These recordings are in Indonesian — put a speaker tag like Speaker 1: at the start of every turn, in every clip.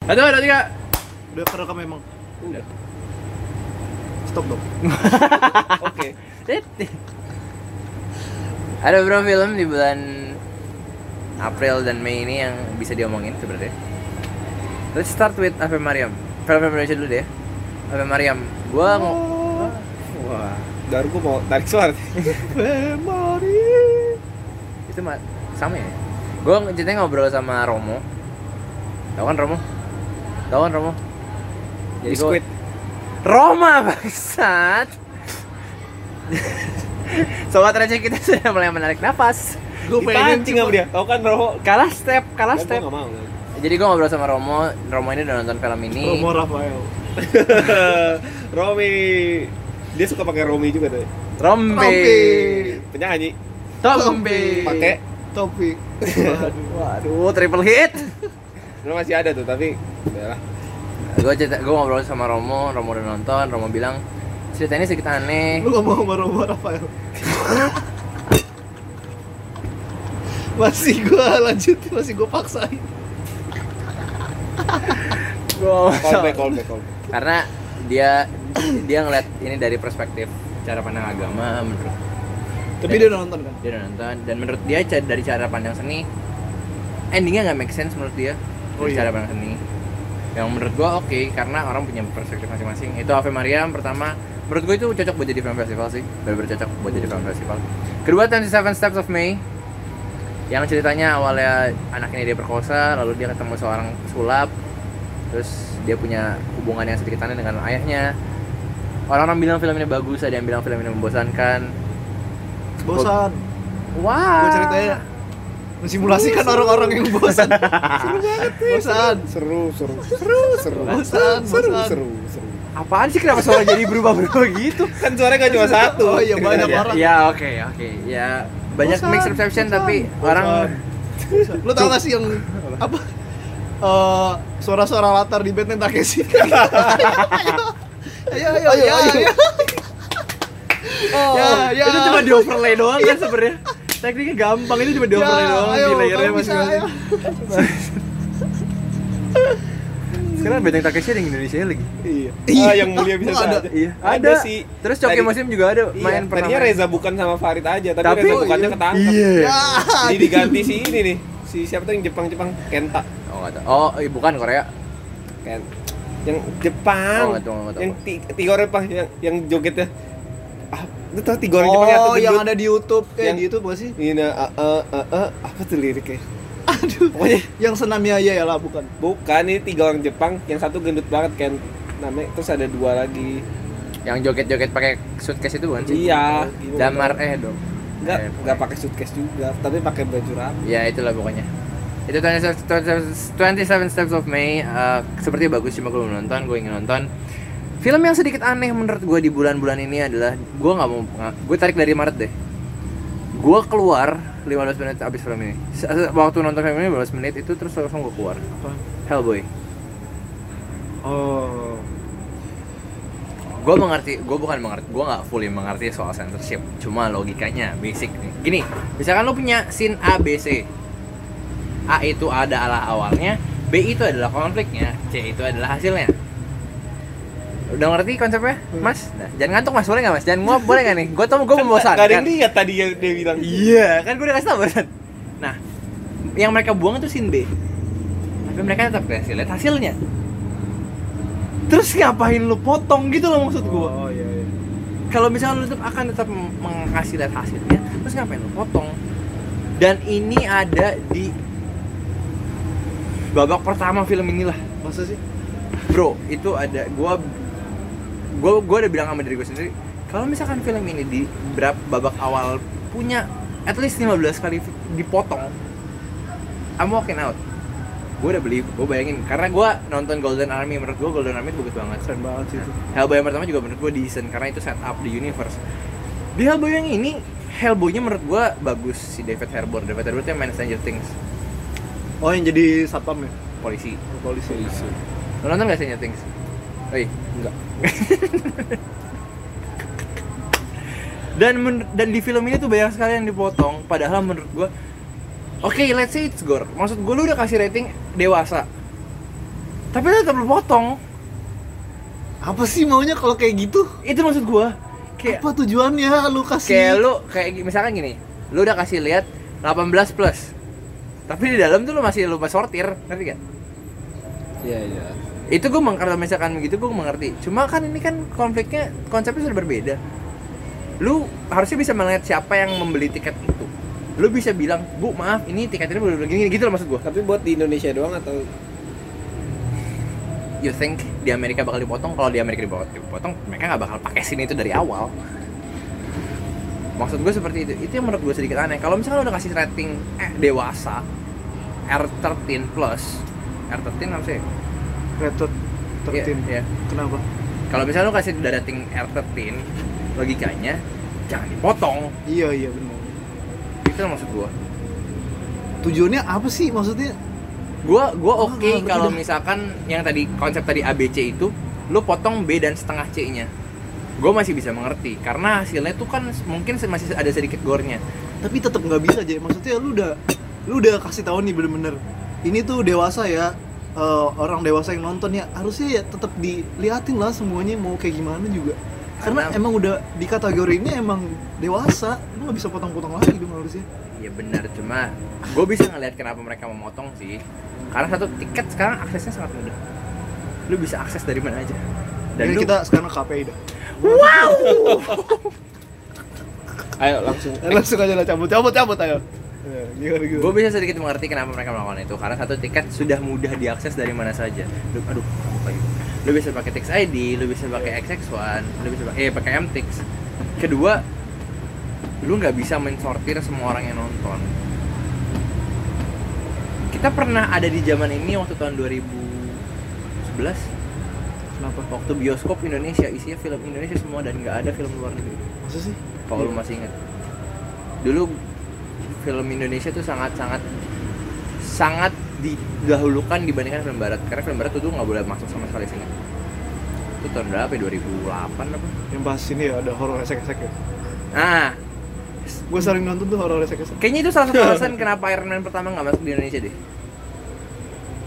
Speaker 1: Satu, dua, tiga.
Speaker 2: Udah kerekam emang.
Speaker 1: Udah.
Speaker 2: Stop dong.
Speaker 1: Oke. Ada beberapa film di bulan April dan Mei ini yang bisa diomongin sebenarnya. Let's start with Ave Mariam. Film Indonesia dulu deh. ya. Ave Mariam. Gua mau
Speaker 3: Wah, daru gua mau tarik suara. Memori.
Speaker 1: itu mah sama ya. Gua ceritanya ngobrol sama Romo. Tahu kan Romo? Tahu kan Romo?
Speaker 3: Jadi
Speaker 1: gua-
Speaker 3: squid.
Speaker 1: Roma bangsat. Sobat receh kita sudah mulai menarik nafas.
Speaker 2: Gue pengen
Speaker 3: Dipancing sama dia. Tau kan Romo?
Speaker 1: Kalah step, kalah
Speaker 3: Kan gua
Speaker 1: step.
Speaker 3: nggak mau. kan.
Speaker 1: Jadi gue ngobrol sama Romo, Romo ini udah nonton film ini.
Speaker 2: Romo Rafael.
Speaker 3: Romi. Dia suka pakai Romi juga tuh.
Speaker 1: Rombe.
Speaker 3: Penyanyi
Speaker 1: Tombe.
Speaker 3: pakai
Speaker 2: Topik.
Speaker 1: Waduh, triple hit.
Speaker 3: Lu masih ada tuh, tapi ya udahlah.
Speaker 1: gue cerita, gue ngobrol sama Romo, Romo udah nonton, Romo bilang ceritanya sedikit aneh.
Speaker 2: Lu ngomong sama Romo Rafael. masih gua lanjutin, masih gua paksain.
Speaker 1: Gua
Speaker 3: Callback, callback, callback.
Speaker 1: karena dia dia ngeliat ini dari perspektif cara pandang agama menurut
Speaker 2: Tapi dia udah nonton kan?
Speaker 1: dia udah nonton dan menurut dia ca- dari cara pandang seni endingnya nggak make sense menurut dia
Speaker 2: Oh
Speaker 1: dari
Speaker 2: iya.
Speaker 1: cara pandang seni yang menurut gua oke karena orang punya perspektif masing-masing itu Ave Maria yang pertama menurut gua itu cocok buat jadi film festival sih benar cocok buat jadi film festival kedua 27 Steps of May yang ceritanya awalnya anak ini dia perkosa lalu dia ketemu seorang sulap terus dia punya hubungan yang sedikit aneh dengan ayahnya orang-orang bilang film ini bagus ada yang bilang film ini membosankan
Speaker 2: Bosan.
Speaker 1: wah
Speaker 2: Gua ceritanya mensimulasikan orang-orang yang bosan. Seru banget sih. Bosan.
Speaker 3: Seru, seru, seru, seru.
Speaker 2: Bosan,
Speaker 3: seru,
Speaker 2: bosan.
Speaker 3: seru, seru.
Speaker 1: Apaan sih kenapa suara jadi berubah-berubah gitu?
Speaker 3: Kan suaranya gak cuma satu.
Speaker 2: Oh iya, banyak orang.
Speaker 1: Ya oke oke ya banyak
Speaker 2: Bosan,
Speaker 1: mixed reception
Speaker 2: bosan,
Speaker 1: tapi
Speaker 2: bosan.
Speaker 1: orang
Speaker 2: Lu tau gak sih yang apa? Eh, suara-suara latar di Batman Takeshi. ayo, ayo, ayo, ayo, ayo.
Speaker 1: oh,
Speaker 2: Ya, ya.
Speaker 1: itu cuma di overlay doang kan sebenarnya. Tekniknya gampang itu
Speaker 3: Ya,
Speaker 1: cuma di overlay
Speaker 2: Ya,
Speaker 1: doang di layernya masing-masing. Sekarang Beteng Takeshi ada yang Indonesia lagi.
Speaker 3: Iya.
Speaker 2: Iya.
Speaker 3: Ah, yang mulia bisa
Speaker 2: Kok ada?
Speaker 3: saja.
Speaker 1: Iya,
Speaker 3: Ada
Speaker 1: ada.
Speaker 3: sih.
Speaker 1: Terus Coki
Speaker 3: Tadi-
Speaker 1: Muslim juga ada main
Speaker 3: Iya,
Speaker 1: pernah.
Speaker 3: tadinya
Speaker 1: main.
Speaker 3: Reza bukan sama Farid aja, tapi,
Speaker 1: Tapi-
Speaker 3: Reza bukannya ketangkep.
Speaker 1: Iya.
Speaker 2: Ya.
Speaker 3: Jadi diganti si ini nih. Si siapa tuh yang Jepang-Jepang? Kenta.
Speaker 1: Oh, nggak tahu. Oh, iya, bukan Korea.
Speaker 3: Ken. Yang Jepang.
Speaker 1: Oh, nggak tahu, nggak tahu.
Speaker 3: yang ti- tiga orang Jepang yang yang jogetnya. Ah, lu tau tiga orang
Speaker 2: Oh,
Speaker 3: Jepang yang satu
Speaker 2: yang
Speaker 3: gendut?
Speaker 2: ada di YouTube. Eh,
Speaker 3: Yang-
Speaker 2: di YouTube gak sih?
Speaker 3: Ini nah, eh, eh, eh, eh, apa tuh liriknya?
Speaker 2: Aduh.
Speaker 3: Pokoknya
Speaker 2: Yang senam ya ya lah bukan.
Speaker 3: bukan ini tiga orang Jepang, yang satu gendut banget kan namanya terus ada dua lagi
Speaker 1: Yang joget-joget pakai suitcase itu bukan sih?
Speaker 3: iya
Speaker 1: Damar eh dong.
Speaker 3: nggak
Speaker 1: Eh,
Speaker 3: nggak pakai suitcase juga tapi pakai baju rapi
Speaker 1: ya itulah pokoknya itu 27 27 27 Steps of May eh, sepertinya bagus cuma gue belum nonton gue ingin nonton film yang sedikit aneh menurut gue di bulan-bulan ini adalah gue nggak mau nggak- gue tarik dari Maret deh gue keluar 15 menit abis film ini Se- se- waktu nonton film ini 15 menit itu terus langsung gue keluar Hellboy
Speaker 2: Oh.
Speaker 1: gue mengerti gue bukan mengerti gue nggak fully mengerti soal censorship cuma logikanya basic nih. gini misalkan lo punya scene A B C A itu ada ala awalnya B itu adalah konfliknya C itu adalah hasilnya udah ngerti konsepnya mas nah, jangan ngantuk mas boleh nggak mas jangan nguap boleh nggak nih gue tau gue membosankan
Speaker 3: Gak Hmm. Kan ada yang lihat tadi yang dia bilang
Speaker 1: Iya, kan gue udah kasih tau barusan. Nah, yang mereka buang itu sin B. Tapi mereka tetap berhasil lihat hasilnya. Terus ngapain lu potong gitu loh maksud gue.
Speaker 2: Oh iya iya.
Speaker 1: Kalau misalnya lu tetap akan tetap meng- mengasih lihat hasilnya, terus ngapain lu potong? Dan ini ada di babak pertama film inilah
Speaker 2: Masa sih?
Speaker 1: bro itu ada gua gua gua udah bilang sama diri gua sendiri kalau misalkan film ini di berap babak awal punya at least 15 kali fi- dipotong I'm walking out gua udah beli gua bayangin karena gua nonton Golden Army menurut gua Golden Army bagus banget
Speaker 2: Keren banget sih itu.
Speaker 1: Hellboy yang pertama juga menurut gua decent karena itu setup the universe di Hellboy yang ini Hellboy-nya menurut gua bagus si David Harbour David Harbour itu yang main Stranger Things
Speaker 2: Oh, yang jadi satpam ya?
Speaker 1: polisi
Speaker 2: Polisi.
Speaker 3: Polisi.
Speaker 1: lo nonton gak Stranger Things? Oh iya, Oi,
Speaker 3: enggak
Speaker 1: dan men- dan di film ini tuh banyak sekali yang dipotong padahal menurut gua oke let's say it's gore maksud gua lu udah kasih rating dewasa tapi tetap lu potong
Speaker 2: Apa sih maunya kalau kayak gitu?
Speaker 1: itu maksud gua kayak
Speaker 2: Apa tujuannya lu kasih?
Speaker 1: kayak lu kayak gi- misalkan gini lu udah kasih lihat 18 plus tapi di dalam tuh lu masih lupa sortir ngerti gak
Speaker 3: Iya iya.
Speaker 1: itu gue kalau misalkan begitu gue mengerti cuma kan ini kan konfliknya konsepnya sudah berbeda lu harusnya bisa melihat siapa yang membeli tiket itu lu bisa bilang bu maaf ini tiketnya belum gini gitu loh maksud gue
Speaker 3: Tapi buat di Indonesia doang atau
Speaker 1: you think di Amerika bakal dipotong kalau di Amerika dipotong, dipotong mereka nggak bakal pakai sini itu dari awal maksud gue seperti itu itu yang menurut gue sedikit aneh kalau misalkan udah kasih rating eh, dewasa R13 plus R13 apa sih
Speaker 2: Retweet
Speaker 1: Iya,
Speaker 2: 13.
Speaker 1: iya.
Speaker 2: Kenapa?
Speaker 1: kalau misalnya lu kasih udah rating R13 logikanya jangan dipotong
Speaker 2: Iya iya benar.
Speaker 1: itu maksud gua
Speaker 2: Tujuannya apa sih maksudnya?
Speaker 1: gua gua
Speaker 2: Oh,
Speaker 1: oke
Speaker 2: bener.
Speaker 1: kalau misalkan yang tadi konsep tadi ABC itu lu potong B dan setengah C nya gua masih bisa mengerti karena hasilnya tuh kan mungkin se- masih ada sedikit gornya
Speaker 2: Tapi tetap nggak bisa aja. Maksudnya lu udah lu udah kasih tahu nih bener-bener. Ini tuh dewasa ya. eh, orang dewasa yang nonton ya harusnya ya tetap diliatin lah semuanya mau kayak gimana juga. Karena
Speaker 1: Karena-
Speaker 2: emang udah di kategori ini emang dewasa, lu nggak bisa potong-potong lagi dong harusnya.
Speaker 1: ya benar cuma gua bisa ngelihat kenapa mereka memotong sih karena satu tiket sekarang aksesnya sangat mudah lu bisa akses dari mana aja
Speaker 2: Jadi
Speaker 1: lu-
Speaker 2: kita sekarang KPI dah.
Speaker 1: wow
Speaker 3: ayo langsung
Speaker 2: Eh, Langsung aja lah cabut, cabut, cabut ayo. Eh, Gimana gimana?
Speaker 1: gue bisa sedikit mengerti kenapa mereka melakukan itu karena satu tiket sudah mudah diakses dari mana saja lu, aduh apa ini? lu bisa pakai Tix ID lu bisa pakai XX1 lu bisa pakai eh, pakai MTix kedua lu nggak bisa mensortir semua orang yang nonton kita pernah ada di zaman ini waktu tahun 2011
Speaker 2: Kenapa?
Speaker 1: waktu bioskop Indonesia isinya film Indonesia semua dan nggak ada film luar negeri
Speaker 2: Maksud sih?
Speaker 1: kalau lu masih ingat dulu film Indonesia tuh sangat sangat sangat didahulukan dibandingkan film barat karena film barat tuh dulu nggak boleh masuk sama sekali sini itu tahun berapa ya? 2008 apa
Speaker 2: Yang pas ini ya ada horor esek-esek ya.
Speaker 1: nah
Speaker 2: Gue sering nonton tuh horor esek-esek.
Speaker 1: kayaknya itu salah satu alasan kenapa Iron Man pertama nggak masuk di Indonesia deh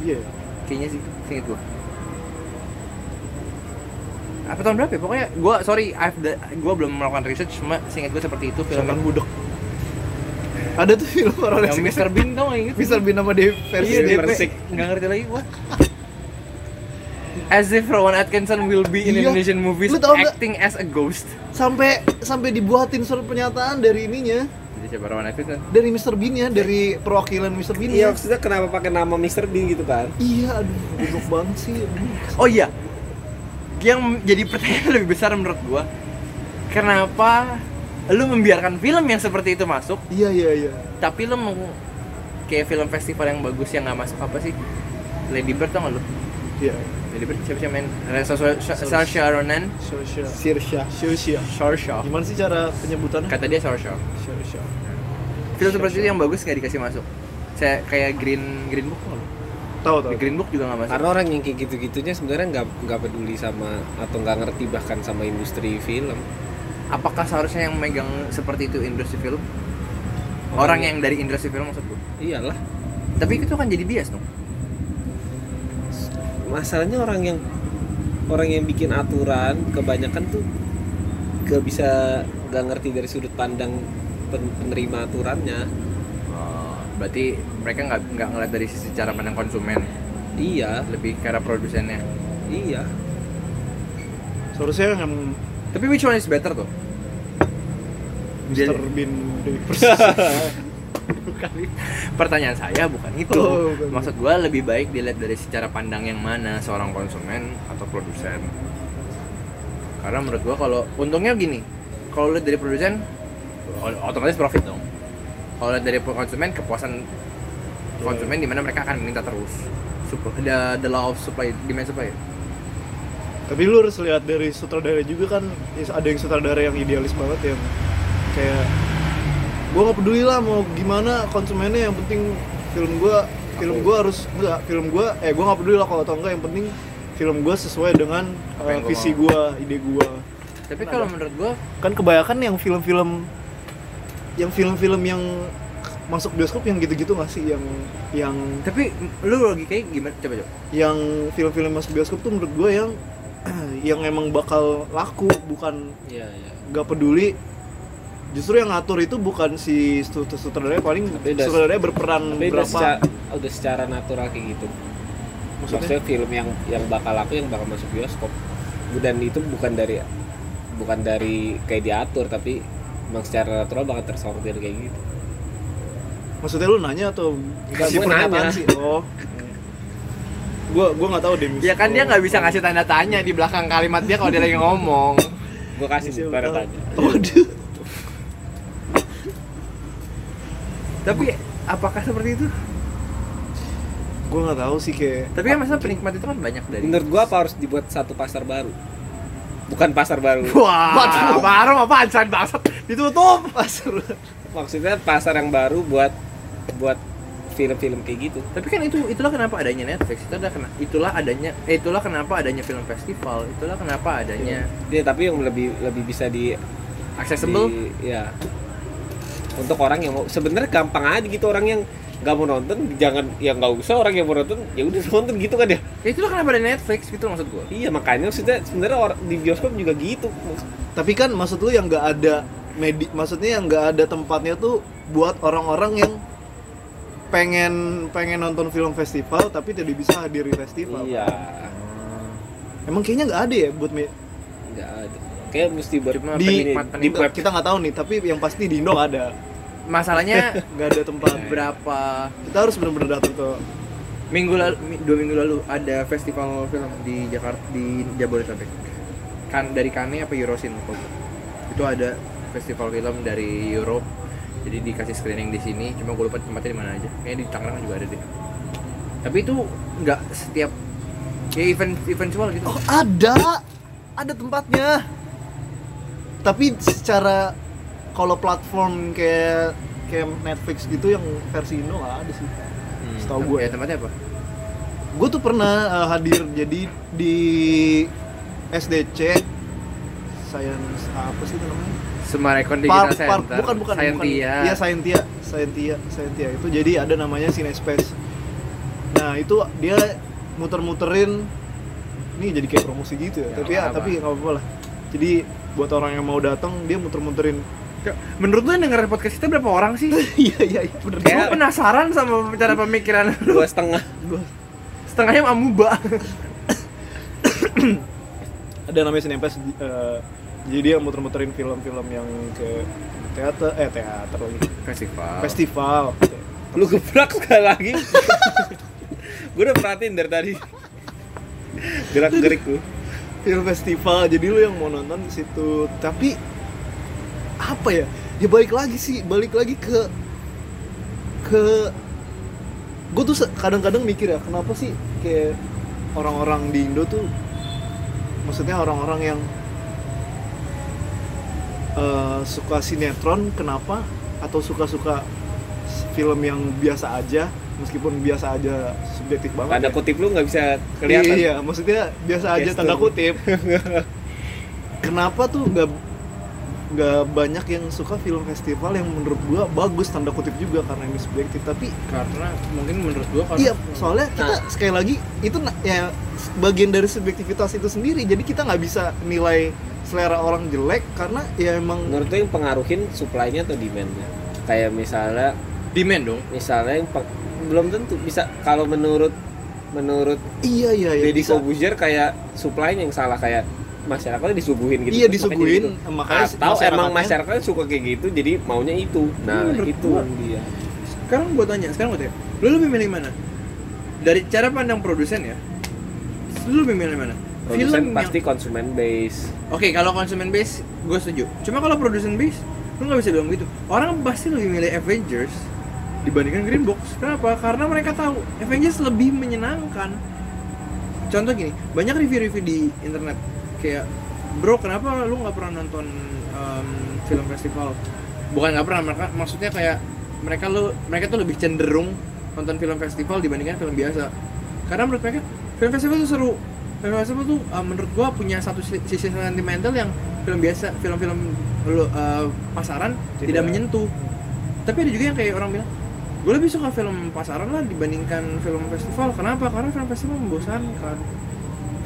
Speaker 2: Iya. ya.
Speaker 1: kayaknya sih singkat gua apa tahun berapa ya? pokoknya gua sorry I've the- gua belum melakukan research cuma singkat gua seperti itu film
Speaker 2: Jangan budek. Ada tuh film horor
Speaker 1: yang
Speaker 2: esek-esek.
Speaker 1: Mr. Bean tau nggak inget
Speaker 2: Mr. Bean sama Dev versi
Speaker 1: Iya,
Speaker 2: DP.
Speaker 1: DP. Nggak ngerti lagi gua. As if Rowan Atkinson will be in
Speaker 2: Iya.
Speaker 1: Indonesian movies
Speaker 2: Lu tau nggak?
Speaker 1: acting as a ghost.
Speaker 2: Sampai sampai dibuatin surat pernyataan dari ininya,
Speaker 1: Jadi siapa Rowan Atkinson?
Speaker 2: dari Mr. Bean ya, dari perwakilan Mr. Bean. ya.
Speaker 3: Iya maksudnya kenapa pakai nama Mr. Bean gitu kan?
Speaker 2: Iya, aduh, goblok banget sih. Aduh.
Speaker 1: Oh iya. Yang jadi pertanyaan lebih besar menurut gua, kenapa lu membiarkan film yang seperti itu masuk,
Speaker 2: Iya, iya, iya.
Speaker 1: tapi lu mau kayak film festival yang bagus yang nggak masuk apa sih? Lady Bird tau nggak lu?
Speaker 2: Iya.
Speaker 1: Lady Bird siapa sih yang main? Saoirse Ronan,
Speaker 2: Shosha.
Speaker 3: Sirsha.
Speaker 2: Shosha.
Speaker 1: Saoirse.
Speaker 2: Gimana sih cara penyebutannya?
Speaker 1: Kata dia Saoirse.
Speaker 2: Shosha.
Speaker 1: film seperti itu yang bagus nggak dikasih masuk saya kayak green green book nggak lu?
Speaker 2: Tahu tahu.
Speaker 1: Di green book juga nggak masuk
Speaker 3: Karena orang yang kayak gitu-gitunya sebenarnya nggak nggak peduli sama atau nggak ngerti bahkan sama industri film.
Speaker 1: apakah seharusnya yang megang seperti itu industri film orang yang dari industri film maksud gua
Speaker 3: Iyalah.
Speaker 1: tapi itu kan jadi bias dong
Speaker 3: Masalahnya orang yang orang yang bikin aturan kebanyakan tuh nggak bisa nggak ngerti dari sudut pandang pen- penerima aturannya.
Speaker 1: Oh, berarti mereka nggak nggak ngeliat dari sisi cara pandang konsumen
Speaker 3: Iya,
Speaker 1: lebih ke arah produsennya
Speaker 3: iya.
Speaker 2: Seharusnya yang
Speaker 1: tapi which one is better tuh
Speaker 2: Mr.
Speaker 1: Jadi-
Speaker 2: Bean Dewi
Speaker 1: pertanyaan saya bukan itu
Speaker 2: Oh, bukan.
Speaker 1: maksud gua lebih baik dilihat dari secara pandang yang mana seorang konsumen atau produsen karena menurut gua kalau untungnya gini kalau lihat dari produsen o- otomatis profit dong kalau lihat dari konsumen kepuasan konsumen di mana mereka akan minta terus Sup- the, the law of supply demand supply
Speaker 2: Tapi lu harus lihat dari sutradara juga kan is- ada yang sutradara yang idealis banget yang kayak gua nggak peduli lah mau gimana konsumennya yang penting film gua film
Speaker 3: Aku-
Speaker 2: gua harus enggak film gua eh gua nggak peduli lah kalau atau enggak yang penting film gua sesuai dengan
Speaker 1: Apa yang
Speaker 2: eh,
Speaker 1: gua
Speaker 2: visi
Speaker 1: mau.
Speaker 2: gua, ide gua.
Speaker 1: tapi kalau menurut gua
Speaker 2: Kan kebanyakan yang film-film yang film-film yang masuk bioskop yang gitu-gitu nggak sih yang yang
Speaker 1: Tapi lu logikanya gimana? Coba coba.
Speaker 2: yang film-film masuk bioskop tuh menurut gue yang yang emang bakal laku bukan
Speaker 3: Iya, iya.
Speaker 2: nggak peduli justru yang ngatur itu bukan si stu- sutradaranya paling
Speaker 3: Tapi udah-
Speaker 2: sutradaranya berperan
Speaker 3: Tapi udah
Speaker 2: berapa
Speaker 3: secara, udah secara natural kayak gitu. Maksudnya?
Speaker 2: maksudnya
Speaker 3: film yang yang bakal laku yang bakal masuk bioskop. Dan itu bukan dari bukan dari kayak diatur tapi emang secara natural bakal tersortir kayak gitu.
Speaker 2: maksudnya lu nanya atau
Speaker 3: Enggak,
Speaker 2: kasih
Speaker 3: gua
Speaker 2: pernyataan
Speaker 3: nanya.
Speaker 2: sih oh gua gua nggak tahu deh Miss.
Speaker 1: Ya kan dia
Speaker 2: Oh.
Speaker 1: nggak bisa ngasih tanda tanya di belakang kalimat dia kalau dia lagi ngomong.
Speaker 3: Gue kasih
Speaker 2: Siapa
Speaker 3: tanda
Speaker 2: tahu.
Speaker 3: tanya.
Speaker 2: waduh
Speaker 1: Tapi apakah seperti itu?
Speaker 2: gua nggak tahu sih kayak
Speaker 1: Tapi kan masa penikmat itu kan banyak dari.
Speaker 3: Menurut gua apa harus dibuat satu pasar baru? Bukan pasar baru.
Speaker 1: Wah, baru apaan san bangsat ditutup.
Speaker 3: Maksudnya pasar yang baru buat buat film-film kayak gitu.
Speaker 1: Tapi kan itu itulah kenapa adanya Netflix, itu adalah kena- itulah adanya eh, itulah kenapa adanya film festival, itulah kenapa adanya
Speaker 3: Dia Iya, tapi yang lebih lebih bisa di
Speaker 1: accessible.
Speaker 3: di- ya. Untuk orang yang mau sebenarnya gampang aja gitu orang yang nggak mau nonton jangan ya nggak usah orang yang mau nonton ya udah nonton gitu kan ya
Speaker 1: Ya, itulah kenapa ada Netflix gitu maksud gua.
Speaker 3: iya makanya maksudnya sebenarnya orang di bioskop juga gitu
Speaker 2: tapi kan maksud lu yang nggak ada medi maksudnya yang nggak ada tempatnya tuh buat orang-orang yang pengen pengen nonton film festival tapi tidak bisa hadir di festival
Speaker 3: iya
Speaker 2: emang kayaknya nggak ada ya buat me-
Speaker 3: nggak ada kayak mesti buat
Speaker 1: Cuma
Speaker 2: Di-
Speaker 1: penikmat
Speaker 3: di
Speaker 1: penikmat.
Speaker 3: web.
Speaker 2: kita nggak tahu nih tapi yang pasti di Indo ada
Speaker 1: Masalahnya
Speaker 2: nggak ada tempat
Speaker 1: Iya. berapa
Speaker 2: kita harus benar-benar datang ke
Speaker 1: minggu lalu mi- dua minggu lalu ada festival film di Jakarta di Jabodetabek kan dari Kane apa Eurosin lupa gua. itu ada festival film dari Europe jadi dikasih screening di sini cuma gue lupa tempatnya di mana aja kayaknya di Tangerang juga ada deh tapi itu nggak setiap ya event eventual gitu
Speaker 2: oh ada ada tempatnya tapi secara kalau platform kayak kayak Netflix gitu yang versi Indo nggak ada sih setahu gue
Speaker 1: ya tempatnya apa
Speaker 2: gue tuh pernah uh, hadir jadi di SDC Science apa sih itu namanya?
Speaker 1: Semarekon Digital Center
Speaker 2: bukan bukan bukan.
Speaker 1: Scientia.
Speaker 2: Iya Scientia, Scientia, Scientia itu jadi ada namanya Cinespace. Nah, itu dia muter-muterin ini jadi kayak promosi gitu ya.
Speaker 1: Ya,
Speaker 2: tapi ya,
Speaker 1: apa-apa.
Speaker 2: tapi nggak apa-apa lah. Jadi buat orang yang mau datang dia muter-muterin.
Speaker 1: Cok, menurut lu yang dengerin podcast kita berapa orang sih?
Speaker 2: Iya iya iya bener.
Speaker 1: gue penasaran sama cara pemikiran lu
Speaker 3: dua setengah
Speaker 1: setengahnya amuba
Speaker 2: ada namanya Cinepass eh, jadi dia muter-muterin film-film yang ke teater eh teater lagi
Speaker 1: festival
Speaker 2: festival gitu.
Speaker 3: lu gebrak sekali lagi gue udah perhatiin dari tadi gerak gerik lu
Speaker 2: film festival jadi lu yang mau nonton di situ tapi apa ya ya balik lagi sih balik lagi ke ke gue tuh se- kadang-kadang mikir ya kenapa sih kayak orang-orang di Indo tuh maksudnya orang-orang yang eh, suka sinetron kenapa atau suka-suka s- film yang biasa aja meskipun biasa aja subjektif banget
Speaker 3: tanda
Speaker 2: ya.
Speaker 3: kutip lu nggak bisa kelihatan
Speaker 2: Iya, maksudnya biasa aja
Speaker 3: Gestur.
Speaker 2: tanda kutip. Kenapa tuh nggak nggak banyak yang suka film festival yang menurut gua bagus tanda kutip juga karena ini subjektif tapi
Speaker 1: karena mungkin menurut gua karena
Speaker 2: iya soalnya kita
Speaker 3: Nah.
Speaker 2: sekali lagi itu na- ya bagian dari subjektivitas itu sendiri jadi kita nggak bisa nilai selera orang jelek karena ya emang
Speaker 3: menurut lu yang pengaruhin supply-nya atau demand-nya kayak misalnya
Speaker 1: demand dong
Speaker 3: misalnya yang pe- belum tentu bisa kalau menurut menurut
Speaker 2: iya iya iya
Speaker 3: Deddy
Speaker 2: bisa.
Speaker 3: Corbuzier kayak supply-nya yang salah kayak masyarakatnya disuguhin gitu
Speaker 2: iya
Speaker 3: Terus
Speaker 2: disuguhin
Speaker 3: makanya
Speaker 2: makanya ya.
Speaker 3: gitu. atau emang
Speaker 2: masyarakatnya-
Speaker 3: masyarakatnya suka kayak gitu jadi maunya itu
Speaker 2: Iya,
Speaker 3: nah
Speaker 1: menurut
Speaker 3: itu
Speaker 1: gua.
Speaker 3: dia
Speaker 1: sekarang gua tanya sekarang gua tanya lu lebih milih mana dari cara pandang produsen ya lu lebih milih mana
Speaker 3: produsen
Speaker 1: yang-
Speaker 3: pasti konsumen base
Speaker 1: oke kalau konsumen base gua setuju cuma kalau produsen base lu nggak bisa bilang gitu orang pasti lebih milih Avengers dibandingkan Green Box kenapa karena mereka tahu Avengers lebih menyenangkan contoh gini banyak review-review di internet kayak bro kenapa lu nggak pernah nonton em, film festival bukan nggak pernah mereka maksudnya kayak mereka lu mereka tuh lebih cenderung nonton film festival dibandingkan film biasa karena menurut mereka film festival tuh seru film festival tuh eh, menurut gua punya satu si- sisi sentimental yang film biasa film-film lu, eh, pasaran tidak
Speaker 2: Tidak.
Speaker 1: menyentuh tapi ada juga yang kayak orang bilang gue lebih suka film pasaran lah dibandingkan film festival kenapa karena film festival membosankan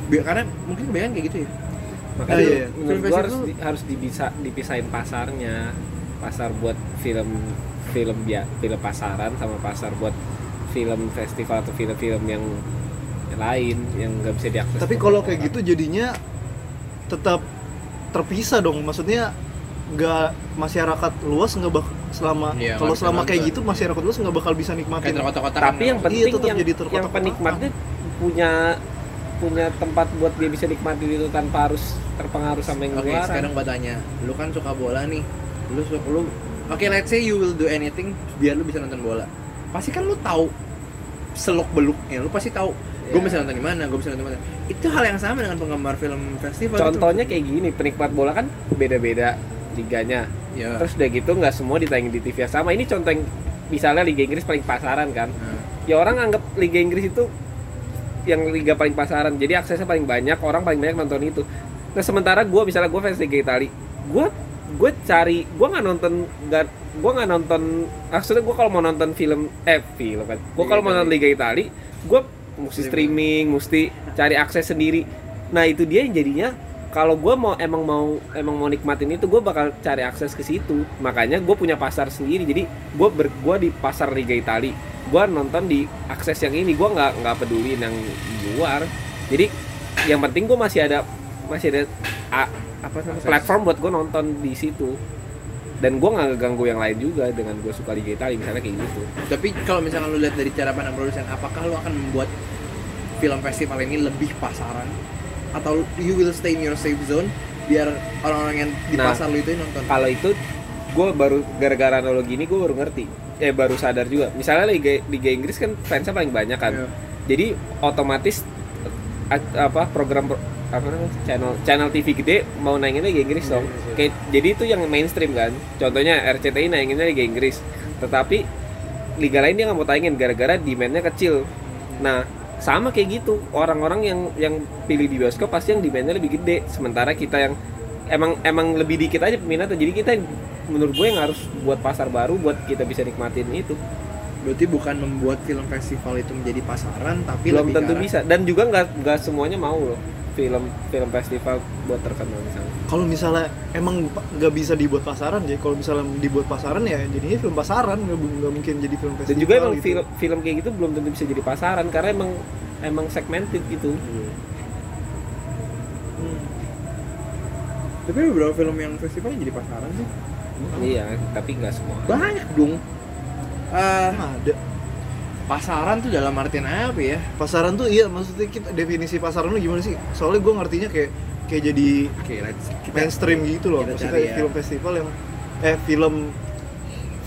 Speaker 1: Bi- karena mungkin kebanyakan kayak gitu ya
Speaker 3: makanya
Speaker 2: iya, iya.
Speaker 1: Film
Speaker 3: menurut gua
Speaker 1: festival-
Speaker 3: harus di- harus dibisa- dipisahin pasarnya pasar buat film film ya film pasaran sama pasar buat film festival atau film-film yang lain yang nggak bisa diakses
Speaker 2: Tapi kalau kayak gitu jadinya tetap terpisah dong. Maksudnya nggak masyarakat luas nggak bak selama
Speaker 1: Iya, nggak
Speaker 2: kalau
Speaker 1: bisa
Speaker 2: selama kayak
Speaker 1: nonton.
Speaker 2: gitu masyarakat luas nggak bakal bisa
Speaker 1: kayak
Speaker 2: nikmatin.
Speaker 1: terkotak-kotak kan.
Speaker 3: tapi yang penting
Speaker 2: tetap
Speaker 3: yang,
Speaker 2: jadi
Speaker 3: yang
Speaker 2: terkotak-kotak.
Speaker 3: penikmatnya punya punya tempat buat dia bisa nikmatin itu tanpa harus terpengaruh sama yang
Speaker 1: Oke,
Speaker 3: luar Ya.
Speaker 1: sekarang gua tanya. Lu kan suka bola nih. Lu suka lu Oke, let's say you will do anything biar lu bisa nonton bola. Pasti kan lu tahu seluk beluknya. Lu pasti tahu gue
Speaker 3: Iya.
Speaker 1: bisa nonton di mana, gue bisa nonton di mana. Itu hal yang sama dengan penggemar film festival.
Speaker 3: contohnya kayak gini penikmat bola kan beda-beda liganya
Speaker 1: ya.
Speaker 3: terus udah gitu nggak semua ditayangin di TV yang sama ini contoh yang misalnya Liga Inggris paling pasaran kan
Speaker 1: Nah.
Speaker 3: ya orang anggap Liga Inggris itu yang liga paling pasaran jadi aksesnya paling banyak orang paling banyak nonton itu nah sementara gue misalnya gue fans Liga Itali gue gue cari gue nggak nonton nggak gue nggak nonton maksudnya gue kalau mau nonton film eh film kan gue
Speaker 1: Liga
Speaker 3: kalau mau nonton
Speaker 1: Itali.
Speaker 3: Liga Itali gue mesti streaming mesti cari akses sendiri nah itu dia yang jadinya kalau gue mau emang mau emang mau nikmatin itu gue bakal cari akses ke situ makanya gue punya pasar sendiri jadi gue ber gue di pasar Liga Itali gue nonton di akses yang ini gue nggak nggak peduli yang luar jadi yang penting gue masih ada masih ada a- apa namanya,
Speaker 1: Akses.
Speaker 3: platform buat gue nonton di situ dan gue nggak ganggu yang lain juga dengan gue suka Liga Itali misalnya kayak gitu
Speaker 1: Tapi kalau misalnya lu lihat dari cara pandang produsen, apakah lu akan membuat film festival ini lebih pasaran atau you will stay in your safe zone biar orang-orang yang di
Speaker 3: Nah.
Speaker 1: pasar lu itu yang nonton?
Speaker 3: kalau itu gue baru gara-gara analogi ini gue baru ngerti eh baru sadar juga misalnya Liga Liga Inggris kan fansnya paling banyak kan
Speaker 1: Iya.
Speaker 3: jadi otomatis at- apa program pro- apa namanya channel channel TV gede mau naikinnya Liga Inggris dong. Kayak, jadi itu yang mainstream kan. Contohnya RCTI naikinnya Liga Inggris. Tetapi liga lain dia nggak mau tayangin gara-gara demandnya kecil. Nah sama kayak gitu orang-orang yang yang pilih di bioskop pasti yang demandnya lebih gede. Sementara kita yang emang emang lebih dikit aja peminatnya. Jadi kita yang- menurut gue yang harus buat pasar baru buat kita bisa nikmatin itu.
Speaker 1: Berarti bukan membuat film festival itu menjadi pasaran, tapi
Speaker 3: belum
Speaker 1: lebih ke
Speaker 3: tentu
Speaker 1: arah-
Speaker 3: bisa dan juga nggak nggak semuanya mau loh film film festival buat terkenal misalnya
Speaker 2: Kalau misalnya emang nggak bisa dibuat pasaran ya, kalau misalnya dibuat pasaran ya jadinya film pasaran nggak nggak mungkin jadi film festival.
Speaker 3: dan juga emang
Speaker 2: gitu.
Speaker 3: film film kayak gitu belum tentu bisa jadi pasaran karena emang emang segmented gitu
Speaker 2: Hmm.
Speaker 1: Tapi ada beberapa film yang festival yang jadi pasaran sih.
Speaker 3: iya tapi nggak semua
Speaker 1: Banyak dong. Eh,
Speaker 2: Emang Ah, ada
Speaker 1: pasaran tuh dalam artian apa ya?
Speaker 2: pasaran tuh iya maksudnya kita definisi pasaran lu gimana sih? Soalnya gue ngertinya kayak kayak jadi
Speaker 1: Oke, let's
Speaker 2: mainstream gitu loh.
Speaker 1: kita
Speaker 2: Maksudnya
Speaker 1: cari ya.
Speaker 2: film festival yang eh film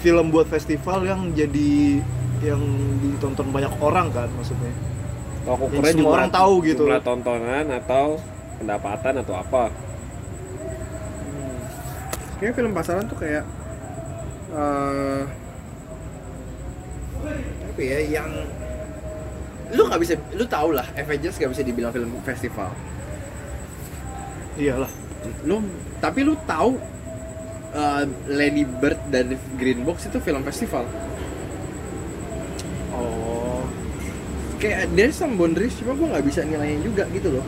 Speaker 2: film buat festival yang jadi yang ditonton banyak orang kan maksudnya.
Speaker 3: toko
Speaker 2: Yang semua orang tahu gitu.
Speaker 3: jumlah tontonan atau pendapatan atau apa
Speaker 1: Kayaknya film pasaran tuh kayak eh apa ya yang lu nggak bisa lu tau lah Avengers nggak bisa dibilang film festival
Speaker 2: Iyalah.
Speaker 1: lu tapi lu tahu eh, Lady Bird dan Green Box itu film festival
Speaker 2: Oh.
Speaker 1: kayak there's some boundaries cuma gua nggak bisa nilainya juga gitu loh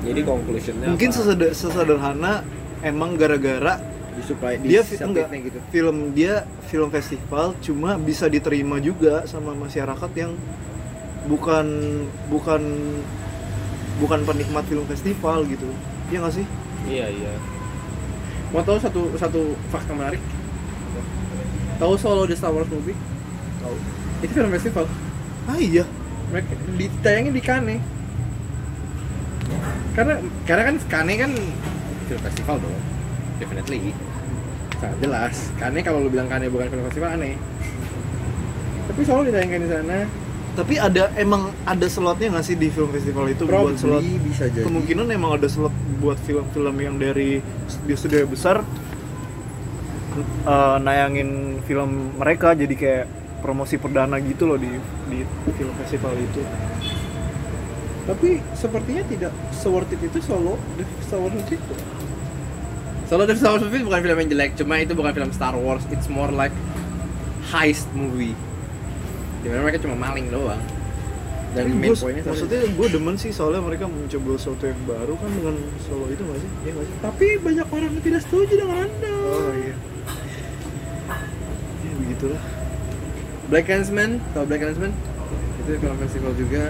Speaker 3: jadi conclusionnya
Speaker 1: Ya,
Speaker 2: Mungkin
Speaker 3: apa?
Speaker 2: seseder- sesederhana emang gara-gara
Speaker 1: di supply di
Speaker 2: dia fi- enggak,
Speaker 1: submitnya gitu
Speaker 2: film dia film festival cuma bisa diterima juga sama masyarakat yang bukan bukan bukan penikmat film festival gitu ya nggak sih
Speaker 3: iya iya
Speaker 1: mau tahu satu satu fakta menarik tahu solo the Star Wars movie
Speaker 2: tahu
Speaker 1: itu film festival
Speaker 2: ah iya
Speaker 1: mereka ditayangin di Kane karena karena kan Kane kan film festival dong definitely sangat jelas Kane kalau lu bilang Kane bukan film festival aneh tapi selalu ditayangkan di sana
Speaker 2: tapi ada emang ada slotnya nggak sih di film festival itu buat slot
Speaker 1: probably bisa jadi
Speaker 2: kemungkinan emang ada slot buat film-film yang dari studio-studio besar eh, nayangin film mereka jadi kayak promosi perdana gitu loh di di film festival itu
Speaker 1: tapi sepertinya tidak se worth it itu solo the Star Wars movie itu Soalnya The Star Wars movie bukan film yang jelek, cuma itu bukan film Star Wars, it's more like heist movie. Dimana mereka cuma maling doang. Dan
Speaker 2: Tapi
Speaker 1: main
Speaker 2: gua,
Speaker 1: pointnya satu.
Speaker 2: maksudnya gue demen sih soalnya mereka mencoba sesuatu yang baru kan dengan solo itu nggak sih? Iya nggak sih?
Speaker 1: Tapi banyak orang yang tidak setuju dengan anda.
Speaker 2: Oh iya. Ya begitulah.
Speaker 1: Black Clansman, tau Black Clansman? Itu film festival juga.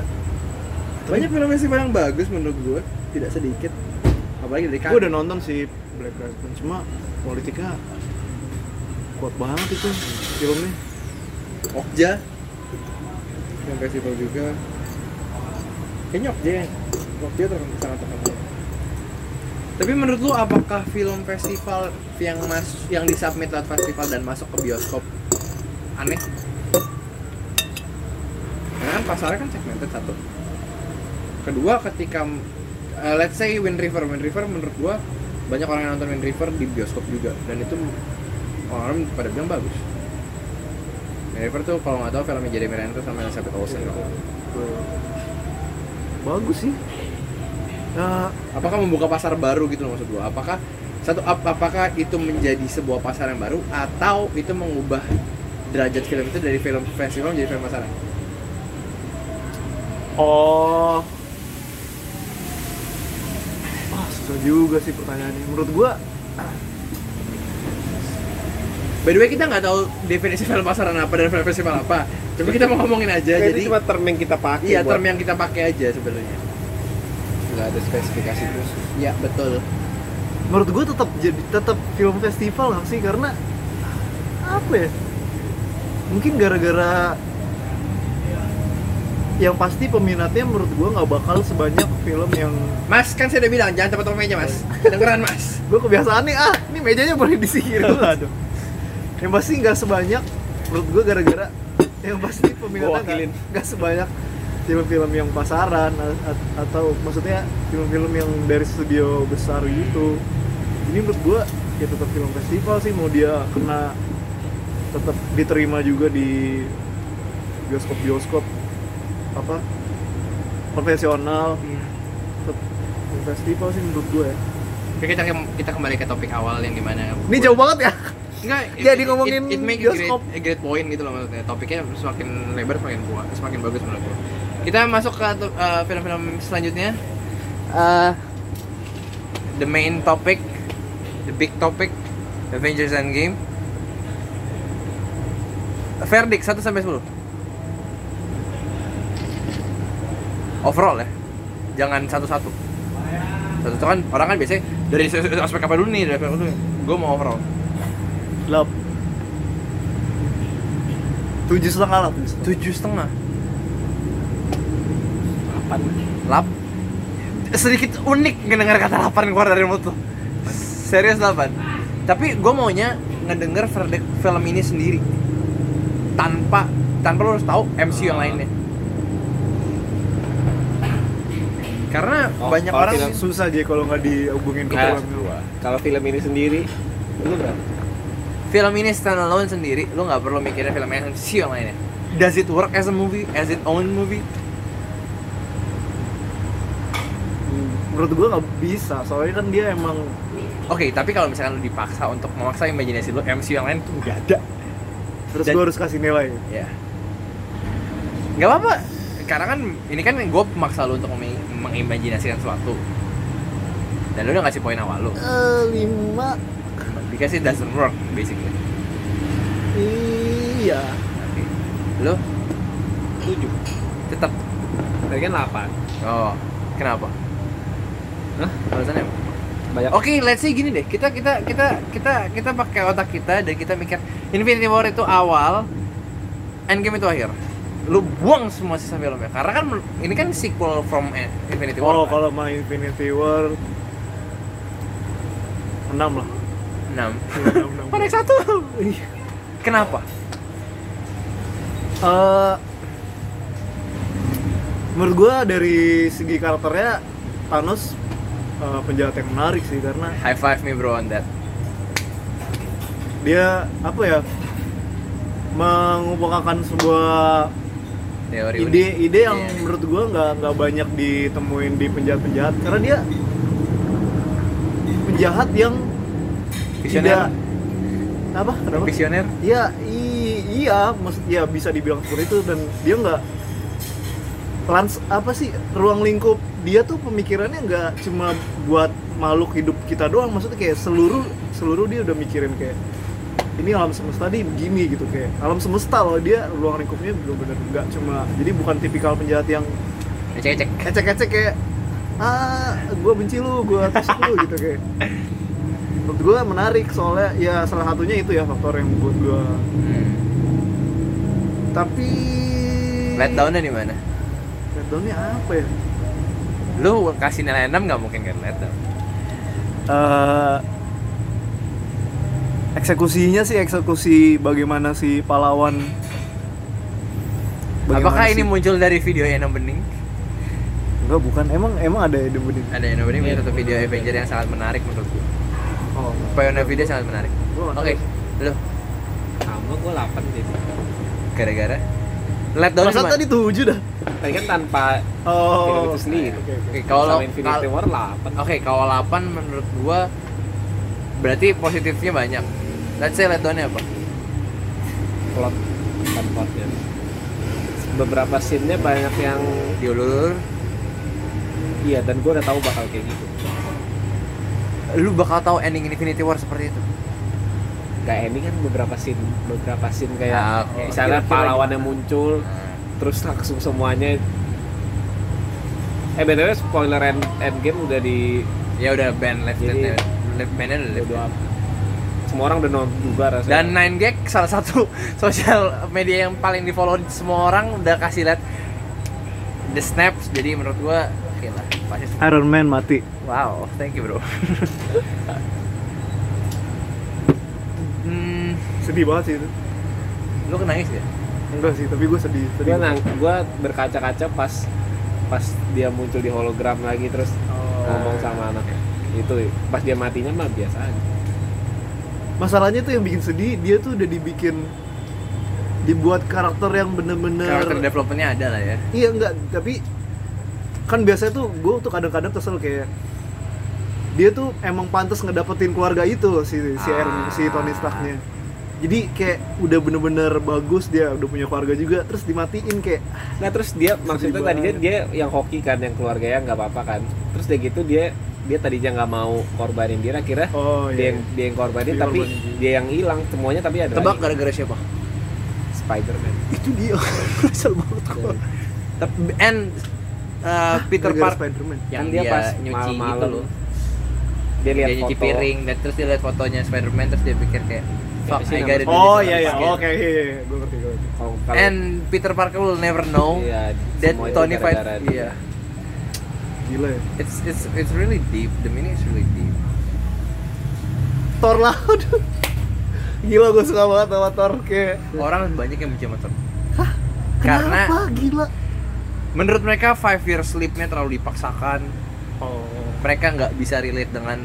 Speaker 1: Banyak film festival yang bagus menurut gue, tidak sedikit. Apalagi dari
Speaker 2: Gue udah nonton si Black Lives Matter, cuma politiknya kuat banget itu filmnya.
Speaker 1: Okja. Film festival juga. Kayaknya Okja ya. Okja terkenal sangat terkenal. Tapi menurut lu apakah film festival yang mas yang disubmit lewat festival dan masuk ke bioskop aneh? Karena kan pasarnya kan segmented satu. Kedua ketika eh, let's say Wind River, Wind River menurut gua banyak orang yang nonton Wind River di bioskop juga dan itu orang pada bilang bagus. Wind River tuh kalau nggak tahu filmnya Jeremy Renner sama Elizabeth Olsen.
Speaker 2: Bagus sih. Nah,
Speaker 1: Apakah membuka pasar baru gitu loh maksud gua? Apakah satu ap- apakah itu menjadi sebuah pasar yang baru atau itu mengubah derajat film itu dari film festival menjadi film pasaran?
Speaker 2: oh. Ah, susah juga sih pertanyaannya. Menurut gua
Speaker 1: By the way kita nggak tahu definisi film pasaran apa dan film festival apa. Coba kita mau ngomongin aja.
Speaker 3: Kayak
Speaker 1: jadi
Speaker 3: itu Ya, cuma term yang kita pakai
Speaker 1: iya
Speaker 3: buat-
Speaker 1: term yang kita pakai aja sebenarnya.
Speaker 3: nggak ada spesifikasi khusus
Speaker 1: Iya betul.
Speaker 2: menurut gue tetap jadi tetap film festival nggak sih karena apa ya mungkin gara-gara yang pasti peminatnya menurut gue nggak bakal sebanyak film yang
Speaker 1: Mas kan saya udah bilang jangan tempat meja mas. Kedengeran mas.
Speaker 2: gue kebiasaan nih ah ini mejanya boleh disingkir aduh yang pasti nggak sebanyak menurut gue gara-gara yang pasti
Speaker 3: Gua
Speaker 2: peminatnya
Speaker 3: wakilin.
Speaker 2: nggak- nggak sebanyak film-film yang pasaran a- a- atau maksudnya film-film yang dari studio besar gitu ini menurut gue ya tetap film festival sih mau dia kena tetap diterima juga di bioskop-bioskop apa konvensional
Speaker 3: Iya.
Speaker 2: tetap film festival sih menurut gue ya
Speaker 1: Oke, kita kita kembali ke topik awal yang dimana
Speaker 2: ini jauh banget ya
Speaker 1: Enggak,
Speaker 2: Jadi ngomongin
Speaker 1: it, it make
Speaker 2: bioskop.
Speaker 1: A great, a great point gitu loh maksudnya. Topiknya semakin lebar semakin kuat, semakin bagus menurut gua. Kita masuk ke uh, film-film selanjutnya. Uh, the main topic, the big topic, Avengers Endgame. Verdict 1 sampai 10. Overall ya. Jangan satu-satu. Satu-satu kan orang kan biasanya dari aspek apa dulu nih, dari aspek apa dulu. Gue mau overall.
Speaker 2: Lap. Tujuh setengah lah.
Speaker 1: tujuh setengah delapan lap sedikit unik ngedengar kata delapan keluar dari mulut lo serius delapan tapi gue maunya ngedenger verdict film ini sendiri tanpa tanpa lo harus tahu MCU yang
Speaker 3: Ah.
Speaker 1: lainnya karena
Speaker 3: Oh,
Speaker 1: banyak
Speaker 3: kalau
Speaker 1: orang
Speaker 3: film-
Speaker 2: Susah aja kalau nggak dihubungin ke
Speaker 3: Nah,
Speaker 2: film dulu.
Speaker 3: kalau film ini sendiri lu berapa
Speaker 1: film ini standalone sendiri lo nggak perlu mikirin film MCU yang lainnya does it work as a movie as its own movie
Speaker 2: Menurut gua nggak bisa, soalnya kan dia emang
Speaker 1: Oke, tapi kalau misalkan lu dipaksa untuk memaksa imajinasi lu, MCU yang lain tuh nggak ada.
Speaker 2: terus
Speaker 1: Dan-
Speaker 2: gua harus kasih nilai.
Speaker 1: Ya. Nggak apa-apa. Karena kan ini kan gue memaksa lu untuk meng- mengimajinasikan sesuatu. Dan lu udah ngasih poin awal lu.
Speaker 2: Eh, lima
Speaker 1: Dikasih doesn't work basically.
Speaker 2: iya.
Speaker 1: Oke. Lu
Speaker 3: tujuh
Speaker 1: tetap
Speaker 3: tadi kan delapan
Speaker 1: oh, kenapa?
Speaker 3: Hah?
Speaker 1: Alasannya apa?
Speaker 3: banyak
Speaker 1: Ya, Oke, let's say gini deh. Kita kita kita kita kita pakai otak kita dan kita mikir Infinity War itu awal, Endgame itu akhir. Lu buang semua sisa filmnya karena kan ini kan sequel from eh, Infinity War.
Speaker 2: Oh,
Speaker 1: kan?
Speaker 2: kalau main Infinity War enam lah.
Speaker 1: enam.
Speaker 2: Iya, enam, enam.
Speaker 1: Panik satu. Kenapa?
Speaker 2: Eh, menurut gua dari segi karakternya Thanos eh, penjahat yang menarik sih karena
Speaker 1: High five me bro on that.
Speaker 2: dia apa ya mengemukakan sebuah
Speaker 1: Teori unik.
Speaker 2: ide-ide yang
Speaker 1: Iya.
Speaker 2: menurut gua nggak nggak banyak ditemuin di penjahat-penjahat karena dia penjahat yang
Speaker 1: Visioner.
Speaker 2: tidak apa kenapa
Speaker 1: Visioner.
Speaker 2: Iya, i- iya, maksud ya bisa dibilang seperti itu dan dia nggak lans apa sih ruang lingkup dia tuh pemikirannya nggak cuma buat makhluk hidup kita doang, maksudnya kayak seluruh seluruh dia udah mikirin kayak ini alam semesta nih begini gitu kayak alam semesta loh dia ruang lingkupnya bener-bener nggak cuma jadi bukan tipikal penjahat yang
Speaker 1: Ecek-ecek.
Speaker 2: ecek-ecek kayak ah gue benci lu gue tusuk lu gitu kayak menurut gue menarik soalnya ya salah satunya itu ya faktor yang buat gue
Speaker 1: Hmm.
Speaker 2: tapi
Speaker 1: Let down-nya di mana?
Speaker 2: let downnya apa ya
Speaker 1: Lu kasih nilai 6 nggak mungkin kan let down.
Speaker 2: Eh, eksekusinya sih eksekusi bagaimana si pahlawan bagaimana
Speaker 1: Apakah ini
Speaker 2: si-
Speaker 1: muncul dari video Eno Bening?
Speaker 2: enggak bukan emang emang ada Eden Bedin
Speaker 1: Ada Eno Bening punya
Speaker 3: Iya.
Speaker 1: satu video Avenger yang sangat menarik menurutku.
Speaker 2: oh
Speaker 1: Pioneer video sangat menarik.
Speaker 2: Gua nggak tahu.
Speaker 1: Oke, lu
Speaker 3: sama gue 8 gitu
Speaker 1: gara-gara let down
Speaker 2: masa tadi tujuh dah
Speaker 3: tadi kan tanpa Hidup
Speaker 2: oh
Speaker 3: itu sendiri.
Speaker 2: Oke, oke.
Speaker 1: kalau
Speaker 3: sama Infinity
Speaker 1: kal-
Speaker 3: War 8
Speaker 1: Oke, kalau 8 menurut gua berarti positifnya banyak. Let's say let down-nya apa?
Speaker 3: plot bukan plotnya beberapa scene-nya banyak yang
Speaker 1: Diulur,
Speaker 3: iya dan gue udah tahu bakal kayak gitu
Speaker 1: lu bakal tahu ending Infinity War seperti itu.
Speaker 3: kayak ini kan beberapa scene beberapa scene kayak
Speaker 1: Ah, oke.
Speaker 3: misalnya
Speaker 1: Kira-kira gitu. Ah.
Speaker 3: pahlawannya muncul terus langsung semuanya eh btw spoiler end, endgame udah di
Speaker 1: Ya udah band left
Speaker 3: Jadi-
Speaker 1: left band-nya udah left.
Speaker 3: udah semua orang udah nonton juga rasanya
Speaker 1: Dan 9gag salah satu sosial media yang paling di follow semua orang udah kasih lihat the snaps. Jadi menurut gua oke lah pasti.
Speaker 2: Iron Man mati
Speaker 1: Wow, thank you bro. hmm,
Speaker 2: sedih banget sih itu
Speaker 1: lu kena nangis ya?
Speaker 2: enggak sih tapi gue sedih sedih
Speaker 3: gue nang gue berkaca-kaca pas pas dia muncul di hologram lagi terus
Speaker 2: Oh.
Speaker 3: ngomong sama anaknya itu pas dia matinya mah biasa aja
Speaker 2: masalahnya tuh yang bikin sedih dia tuh udah dibikin dibuat karakter yang bener-bener
Speaker 1: Oh. Karakter developmentnya ada lah ya.
Speaker 2: iya enggak tapi kan biasanya tuh gue tuh kadang-kadang kesel kayak dia tuh emang pantas ngedapetin keluarga itu si si Iron- si
Speaker 1: Ah.
Speaker 2: Tony Starknya jadi kayak udah bener-bener bagus dia udah punya keluarga juga terus dimatiin kayak
Speaker 3: nah terus dia maksudnya tadinya
Speaker 2: banget.
Speaker 3: dia yang hoki kan yang keluarganya nggak apa-apa kan terus dia gitu dia dia tadinya nggak mau korbanin dia akhirnya
Speaker 2: oh
Speaker 3: dia
Speaker 1: iya.
Speaker 3: yang dia yang korbanin
Speaker 2: Dia
Speaker 3: tapi
Speaker 2: korbanin dia.
Speaker 3: dia yang hilang semuanya tapi ada
Speaker 1: Tebak
Speaker 3: lagi.
Speaker 1: gara-gara siapa?
Speaker 3: Spider-Man
Speaker 2: itu dia kesel banget gue
Speaker 1: Tep- And uh, Peter
Speaker 2: Gara-gara
Speaker 1: Parker
Speaker 2: Spider-Man
Speaker 1: yang
Speaker 3: Kan
Speaker 1: dia, pas nyuci gitu
Speaker 3: malam-malam
Speaker 1: loh.
Speaker 3: dia
Speaker 1: Dia
Speaker 3: lihat
Speaker 1: nyuci
Speaker 3: foto
Speaker 1: piring dan terus dia lihat fotonya Spider-Man terus dia pikir kayak fuck
Speaker 3: Siapa sih
Speaker 1: I
Speaker 3: nama
Speaker 1: got it.
Speaker 2: oh
Speaker 1: This
Speaker 2: iya
Speaker 1: is
Speaker 2: iya
Speaker 1: my
Speaker 2: oke iya iya gue ngerti gue ngerti
Speaker 3: Kalau- Oh, kalau-
Speaker 1: And Peter Parker will never know
Speaker 3: Iya,
Speaker 1: that
Speaker 3: semuanya
Speaker 1: Tony fight.
Speaker 3: gara-gara dia.
Speaker 1: Iya,
Speaker 2: gila ya
Speaker 1: it's it's it's really deep. The meaning is really deep.
Speaker 2: Thor lah aduh gila gue suka banget sama Thor kayak
Speaker 1: Orang banyak yang benci sama Thor. Karena
Speaker 2: kenapa gila
Speaker 1: menurut mereka five year sleep-nya terlalu dipaksakan.
Speaker 2: oh
Speaker 1: Mereka nggak bisa relate dengan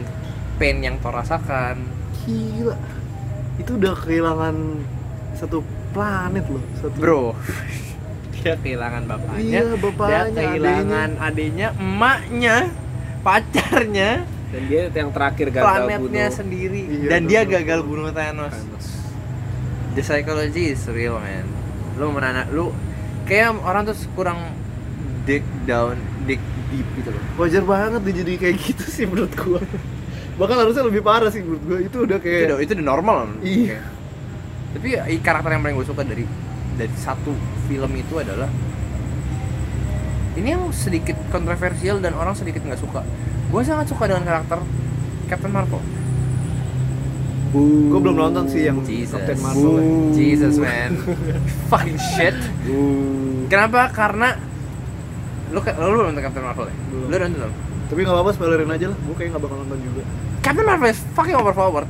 Speaker 1: pain yang Thor rasakan.
Speaker 2: gila itu udah kehilangan satu planet loh satu
Speaker 1: Bro, dia kehilangan bapaknya,
Speaker 2: Iya, bapaknya,
Speaker 1: dia kehilangan adiknya, emaknya, pacarnya,
Speaker 3: dan dia yang terakhir gagal
Speaker 1: planetnya
Speaker 3: bunuh
Speaker 1: sendiri,
Speaker 2: Iya,
Speaker 1: dan dia
Speaker 2: betul.
Speaker 1: gagal bunuh Thanos.
Speaker 3: Thanos.
Speaker 1: the psychology is real man lu menana lu kayak orang tuh kurang dig down dig deep gitu loh
Speaker 2: wajar banget dia jadi kayak gitu sih menurut gua bahkan harusnya lebih parah sih menurut gua itu udah
Speaker 1: itu
Speaker 2: kayak
Speaker 1: udah- itu udah normal man.
Speaker 2: Iya.
Speaker 1: Kayak- tapi ya, i- karakter yang paling gue suka dari dari satu film itu adalah ini yang sedikit kontroversial dan orang sedikit nggak suka gue sangat suka dengan karakter Captain Marvel
Speaker 2: gua belum nonton sih yang
Speaker 1: Jesus
Speaker 2: Captain Marvel
Speaker 1: Jesus man fucking shit kenapa karena lu ke- lu belum nonton Captain Marvel ya?
Speaker 2: Belum.
Speaker 1: lu udah nonton belum?
Speaker 2: tapi nggak apa-apa spoilerin aja lah gua kayak nggak bakal nonton juga
Speaker 1: Captain Marvel is fucking overpowered.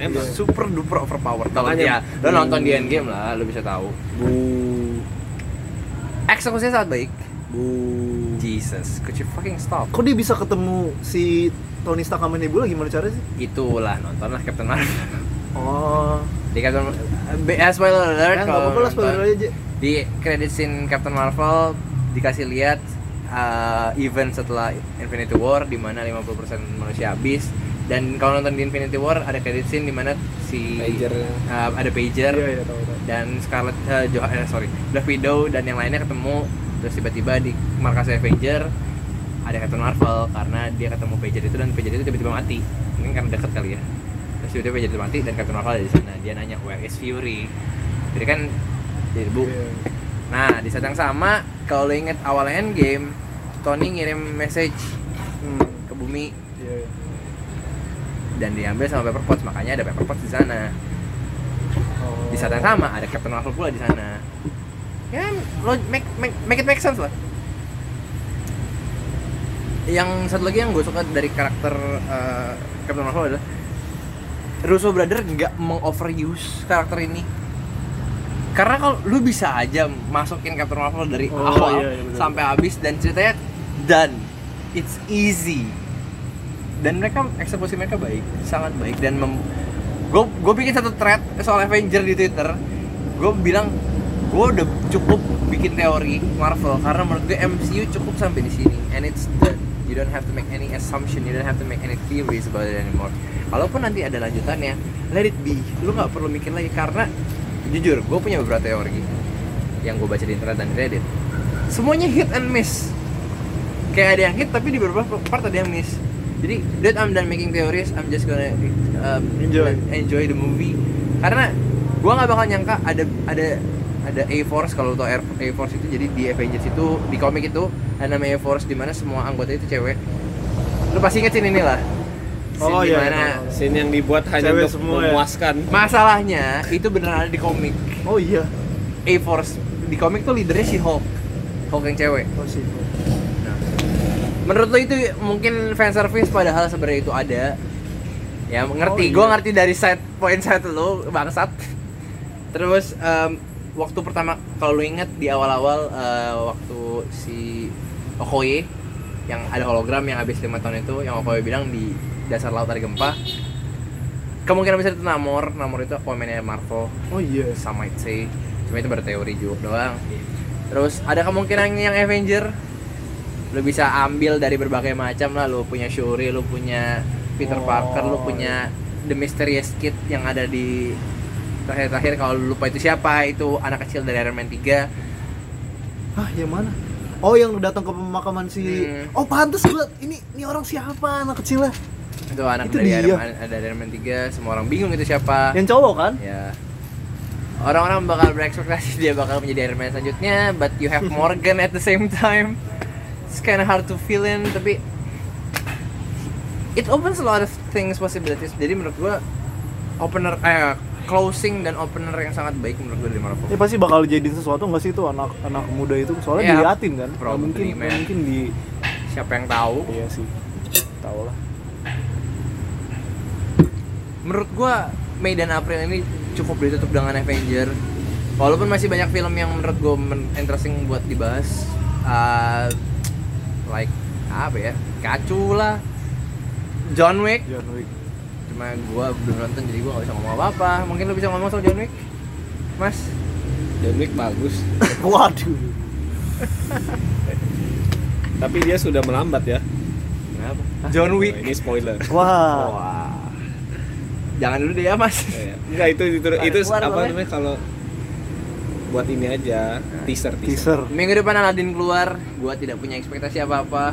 Speaker 3: emang
Speaker 1: Super duper overpowered. Kalau ya,
Speaker 3: Makanya-
Speaker 1: Iya. lo nonton di Endgame lah, lo bisa tahu.
Speaker 3: bu
Speaker 1: Eksekusinya sangat baik.
Speaker 3: bu
Speaker 1: Jesus, could you fucking stop?
Speaker 2: kok dia bisa ketemu si Tony Stark sama Nebula gimana caranya sih
Speaker 1: Itulah nontonlah Captain Marvel.
Speaker 2: oh
Speaker 1: Di Captain Be- eh, spoiler
Speaker 2: ya
Speaker 1: alert.
Speaker 2: nggak
Speaker 1: kalau
Speaker 2: apa-apa lah
Speaker 1: nonton.
Speaker 2: spoiler aja
Speaker 1: Di credit scene Captain Marvel dikasih lihat uh, event setelah Infinity War di mana 50% manusia habis dan kalau nonton di Infinity War ada credit scene di mana si
Speaker 3: Pagernya.
Speaker 1: eh, ada pager
Speaker 2: Iya, iya, tahu, tahu.
Speaker 1: dan Scarlet eh, Jo- eh, sorry Black Widow dan yang lainnya ketemu terus tiba-tiba di markas Avenger ada Captain Marvel karena dia ketemu Pager itu dan Pager itu tiba-tiba mati mungkin karena dekat kali ya terus tiba-tiba Pager itu mati dan Captain Marvel ada di sana dia nanya where is Fury jadi kan jadi bu
Speaker 2: Iya.
Speaker 1: nah di saat yang sama kalau lo inget awal Endgame Tony ngirim message
Speaker 2: Hmm,
Speaker 1: ke bumi
Speaker 2: iya, iya.
Speaker 1: dan diambil sama Pepper Potts makanya ada Pepper Potts di sana
Speaker 2: Oh.
Speaker 1: di saat yang sama ada Captain Marvel pula di sana ya lo make, make, make it make sense lah yang satu lagi yang gue suka dari karakter eh, Captain Marvel adalah Russo Brother nggak mengoveruse karakter ini karena kalau lu bisa aja masukin Captain Marvel dari
Speaker 2: Oh,
Speaker 1: awal
Speaker 2: iya, iya, benar.
Speaker 1: sampai habis dan ceritanya done it's easy dan mereka eksekusi mereka baik sangat baik dan mem- gue gue bikin satu thread soal Avenger di Twitter gue bilang gue udah cukup bikin teori Marvel karena menurut gue MCU cukup sampai di sini and it's done you don't have to make any assumption you don't have to make any theories about it anymore kalaupun nanti ada lanjutannya let it be lu nggak perlu mikir lagi karena jujur gue punya beberapa teori yang gue baca di internet dan Reddit semuanya hit and miss kayak ada yang hit tapi di beberapa part ada yang miss jadi that I'm done making theories I'm just gonna um,
Speaker 2: Enjoy.
Speaker 1: enjoy the movie karena gua nggak bakal nyangka ada ada ada A Force kalau lo tau Air- A Force itu jadi di Avengers itu di komik itu ada nama A Force di mana semua anggota itu cewek lu pasti inget scene inilah Scene
Speaker 2: Oh,
Speaker 1: di
Speaker 2: iya,
Speaker 1: mana
Speaker 2: iya, iya.
Speaker 3: Scene yang dibuat hanya
Speaker 2: Cewek
Speaker 3: untuk
Speaker 2: semua ya.
Speaker 3: memuaskan.
Speaker 1: masalahnya itu beneran ada di komik
Speaker 2: Oh iya.
Speaker 1: A Force di komik tuh leadernya si Hulk Hulk yang cewek
Speaker 2: Oh sih.
Speaker 1: menurut lo itu mungkin fan service padahal sebenarnya itu ada ya ngerti
Speaker 2: Oh,
Speaker 1: gue
Speaker 2: iya.
Speaker 1: ngerti dari side point side lo bangsat terus em, waktu pertama kalau lo inget di awal-awal eh, waktu si Okoye yang ada hologram yang habis lima tahun itu yang Okoye bilang di dasar laut ada gempa kemungkinan besar itu Namor Namor itu Aquaman-nya Marvel
Speaker 2: Oh iya.
Speaker 1: some might say cuma itu baru teori juga doang terus ada kemungkinan yang Avenger lu bisa ambil dari berbagai macam lah lu punya Shuri lu punya Peter
Speaker 2: Oh.
Speaker 1: Parker lu punya The Mysterious Kid yang ada di terakhir-terakhir kalau lu lupa itu siapa itu anak kecil dari Iron Man 3
Speaker 2: Hah, yang mana? Oh, yang datang ke pemakaman si
Speaker 1: Hmm.
Speaker 2: Oh, pantas gua ini ini orang siapa anak kecilnya?
Speaker 1: itu anak
Speaker 2: Itu
Speaker 1: dari
Speaker 2: dia.
Speaker 1: Iron Man, ada Iron Man 3 semua orang bingung itu siapa
Speaker 2: Yang cowok kan?
Speaker 1: ya orang-orang bakal berekspektasi dia bakal menjadi Iron Man selanjutnya but you have Morgan at the same time it's kind of hard to fill in tapi it opens a lot of things possibilities jadi menurut gua opener eh closing dan opener yang sangat baik menurut gua dari Marvel
Speaker 2: Ya pasti bakal jadiin sesuatu nggak sih itu anak anak muda itu soalnya
Speaker 1: Iya. ya.
Speaker 2: diliatin kan? Nggak
Speaker 1: Probably,
Speaker 2: mungkin nggak
Speaker 1: man.
Speaker 2: mungkin di
Speaker 1: siapa yang tahu
Speaker 2: iya sih. Tahu lah.
Speaker 1: menurut gua Mei dan April ini cukup ditutup dengan Avenger walaupun masih banyak film yang menurut gua men- interesting buat dibahas Uh, like apa ya kacu lah John Wick
Speaker 2: John Wick.
Speaker 1: cuma gua belum nonton jadi gua gak bisa ngomong apa apa mungkin lu bisa ngomong soal John Wick Mas
Speaker 3: John Wick bagus,
Speaker 2: Waduh.
Speaker 3: tapi dia sudah melambat ya.
Speaker 1: kenapa John Wick
Speaker 3: Ini spoiler.
Speaker 2: Wah.
Speaker 1: wah jangan dulu deh ya Mas
Speaker 3: Iya. Enggak itu itu,
Speaker 1: Keluar,
Speaker 3: itu
Speaker 1: keluar,
Speaker 3: apa
Speaker 1: keluar.
Speaker 3: namanya kalau buat ini aja
Speaker 1: Nah,
Speaker 3: teaser
Speaker 2: Teaser.
Speaker 3: teaser.
Speaker 1: minggu depan Aladdin keluar gua tidak punya ekspektasi apa apa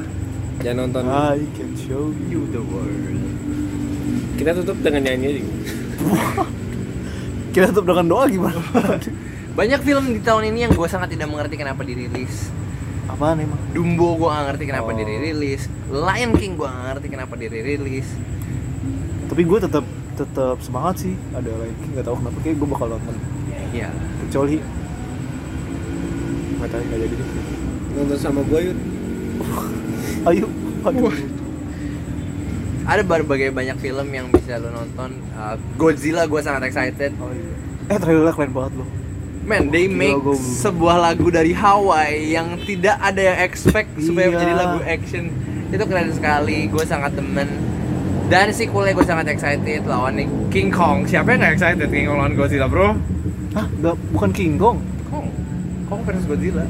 Speaker 3: Jangan nonton.
Speaker 2: I can show you.
Speaker 1: the world
Speaker 3: Kita tutup dengan nyanyi aja.
Speaker 2: Kita tutup dengan doa gimana? Waduh.
Speaker 1: banyak film di tahun ini yang gua sangat tidak mengerti kenapa dirilis
Speaker 2: Apaan emang?
Speaker 1: Dumbo gue gak ngerti kenapa
Speaker 2: Oh.
Speaker 1: dirilis Lion King gue gak ngerti kenapa dirilis
Speaker 2: Tapi gue tetap tetap semangat sih. Ada lagi nggak tahu kenapa kayak gue bakal nonton. Iya.
Speaker 1: ya
Speaker 2: Kecuali nggak tahu nggak jadi deh.
Speaker 3: Nonton sama gue yuk.
Speaker 2: Ayo. Waduh.
Speaker 1: ada berbagai banyak film yang bisa lo nonton Uh, Godzilla gue sangat excited
Speaker 2: Oh, iya. Eh trailernya keren banget loh.
Speaker 1: man they
Speaker 2: Gila,
Speaker 1: make
Speaker 2: gua-
Speaker 1: sebuah lagu dari Hawaii yang tidak ada yang expect supaya
Speaker 2: Iya.
Speaker 1: menjadi lagu action itu keren sekali gue sangat demen dan sequelnya gue sangat excited lawannya King Kong siapa yang gak excited King Kong lawan Godzilla bro
Speaker 2: Hah? Nggak, bukan King Kong.
Speaker 1: Kong Kong versus Godzilla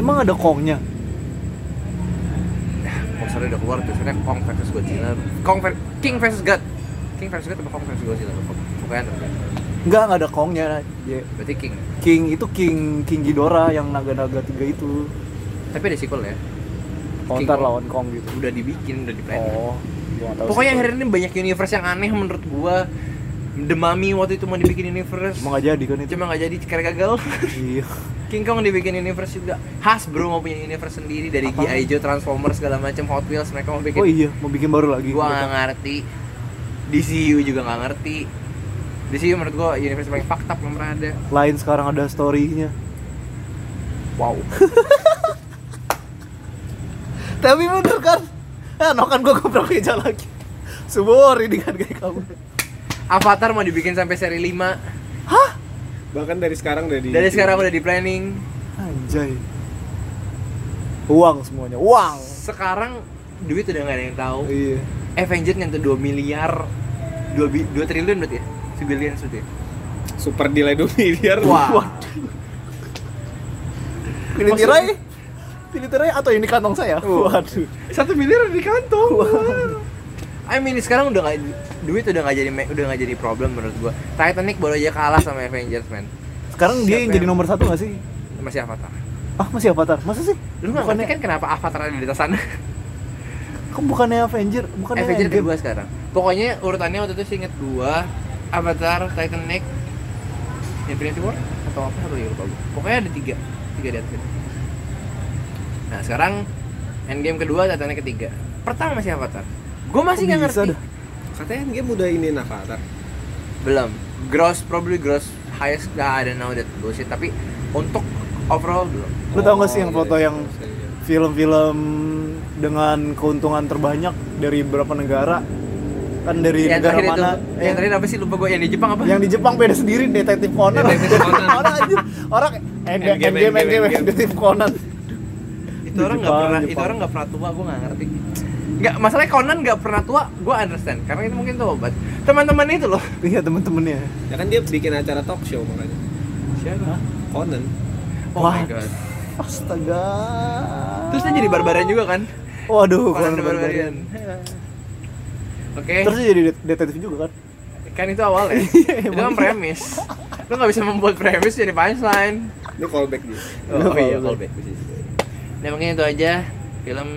Speaker 2: Emang ada Kongnya?
Speaker 1: Kong teasernya udah keluar teasernya Kong versus Godzilla Kong ver- King versus God King versus God atau Kong versus Godzilla lupa. pokoknya ada
Speaker 2: Enggak, enggak ada kongnya. Ye.
Speaker 1: berarti King
Speaker 2: King itu King King Ghidorah yang naga-naga tiga itu.
Speaker 1: tapi ada sequel ya
Speaker 2: Counter
Speaker 1: Kong.
Speaker 2: lawan Kong gitu.
Speaker 1: udah dibikin udah di
Speaker 2: Oh, gua nggak tahu
Speaker 1: pokoknya
Speaker 2: sih.
Speaker 1: hari ini banyak universe yang aneh menurut gua The Mummy waktu itu mau dibikin universe
Speaker 2: Cuma nggak jadi kan itu.
Speaker 1: cuma nggak jadi karena gagal
Speaker 2: Iya.
Speaker 1: King Kong dibikin universe juga Hasbro mau punya universe sendiri dari
Speaker 2: Apa?
Speaker 1: G.I. Joe, Transformers segala macam Hot Wheels mereka mau bikin
Speaker 2: Oh iya, mau bikin baru lagi.
Speaker 1: gua nggak ngerti DCU juga nggak ngerti DCU menurut gua universe paling fucked up yang pernah ada
Speaker 2: Lain sekarang ada story-nya.
Speaker 1: wow
Speaker 2: Tapi bener kan? Ya, nokan gua goblok aja lagi. Subori ini kan kayak kamu.
Speaker 1: Avatar mau dibikin sampai seri 5
Speaker 3: bahkan dari sekarang udah di
Speaker 1: dari sekarang udah di planning
Speaker 2: Anjay. Uang semuanya, uang.
Speaker 1: sekarang duit udah nggak ada yang tahu
Speaker 2: Iya.
Speaker 1: Avengers nyentuh 2 miliar 2, bi- 2 triliun berarti ya? Sebilian berarti ya?
Speaker 3: super delay 2 miliar
Speaker 1: Wah,
Speaker 2: Pilih tirai. Pilih tirai atau ini kantong saya?
Speaker 1: Oh.
Speaker 2: Waduh.
Speaker 1: satu miliar di kantong. I mean sekarang udah nggak duit udah nggak jadi udah nggak jadi problem menurut gua. Titanic baru aja kalah sama Avengers man.
Speaker 2: Sekarang dia
Speaker 1: Siapa
Speaker 2: yang jadi
Speaker 1: yang-
Speaker 2: nomor satu gak sih?
Speaker 1: Masih Avatar.
Speaker 2: Ah masih Avatar? Masa sih?
Speaker 1: Lu nggak ngerti kan kenapa Avatar ada di atas sana?
Speaker 2: Kan bukannya Avenger, bukannya
Speaker 1: Avenger
Speaker 2: Endgame.
Speaker 1: kedua sekarang. Pokoknya urutannya waktu itu sih inget dua, Avatar, Titanic, Infinity War atau apa satu lagi lupa gue. Pokoknya ada tiga, tiga di atas itu. Nah sekarang Endgame kedua, Titanic ketiga. Pertama masih Avatar. Gue masih
Speaker 2: Kok
Speaker 1: nggak
Speaker 2: bisa
Speaker 1: ngerti.
Speaker 2: dah?
Speaker 3: katanya game udah ini avatar
Speaker 1: Belum. Gross probably gross highest gak ada now that bullshit. Tapi untuk overall belum.
Speaker 2: Lu tau gak sih
Speaker 1: Oh, iya,
Speaker 2: yang
Speaker 3: Oh, iya,
Speaker 2: foto yang film-film dengan keuntungan terbanyak dari berapa negara? Kan dari
Speaker 1: yang
Speaker 2: negara
Speaker 1: terakhir itu,
Speaker 2: mana?
Speaker 1: yang
Speaker 2: Yang,
Speaker 1: terakhir apa sih lupa gue yang di Jepang apa?
Speaker 2: yang di Jepang beda sendiri, Detective Conan.
Speaker 3: Detective Conan.
Speaker 2: orang anjir, orang Endgame,
Speaker 3: Endgame,
Speaker 2: Endgame,
Speaker 3: Endgame,
Speaker 2: Endgame, Detective Conan.
Speaker 1: itu
Speaker 2: Di
Speaker 1: orang nggak
Speaker 2: Jepang,
Speaker 1: pernah itu
Speaker 2: Jepang.
Speaker 1: orang nggak pernah tua gue nggak ngerti nggak masalahnya Conan nggak pernah tua gue understand karena itu mungkin tuh obat teman-teman itu loh
Speaker 2: Iya temen-temennya.
Speaker 3: ya kan dia bikin acara talk show makanya
Speaker 2: Siapa?
Speaker 3: Conan
Speaker 1: oh
Speaker 2: Wah.
Speaker 1: my god
Speaker 2: Astaga.
Speaker 1: terus dia jadi barbarian juga kan
Speaker 2: Waduh,
Speaker 1: Conan
Speaker 2: Conan
Speaker 1: the
Speaker 2: Barbarian.
Speaker 1: barbarian oke
Speaker 2: Terus dia jadi det- detektif juga kan?
Speaker 1: kan itu awalnya itu kan premis lu nggak bisa membuat premis jadi punchline
Speaker 3: ini callback dia
Speaker 1: oh, iya callback nah mungkin itu aja film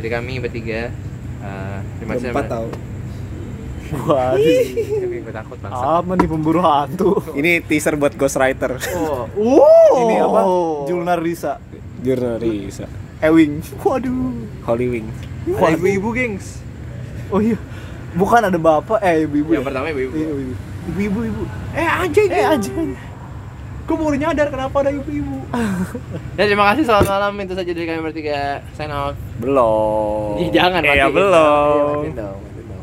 Speaker 1: dari kami bertiga Eh, terima kasih
Speaker 3: empat tahu
Speaker 2: Waduh.
Speaker 1: tapi gue takut bangsa
Speaker 2: Apa nih pemburu hantu?
Speaker 3: ini teaser buat Ghost Rider
Speaker 1: oh
Speaker 2: Oh. Ini apa? Julnar Risa.
Speaker 3: Jurnalis
Speaker 2: Ewing. Waduh.
Speaker 3: Holy Wing
Speaker 1: ada ibu-ibu gengs
Speaker 2: Oh iya. Bukan ada bapak, eh ibu-ibu.
Speaker 1: yang
Speaker 2: ya?
Speaker 1: pertama ibu-ibu
Speaker 2: Iya, ibu-ibu. Ibu-ibu. ibu.
Speaker 1: Eh anjing.
Speaker 2: Eh anjing.
Speaker 1: Gue baru nyadar kenapa ada ibu-ibu. ya terima kasih selamat malam itu saja dari kami bertiga. Sign out.
Speaker 3: belum
Speaker 1: Ih, jangan Iya,
Speaker 3: ya
Speaker 1: matiin.
Speaker 3: belum
Speaker 2: Ah.
Speaker 1: Matiin dong.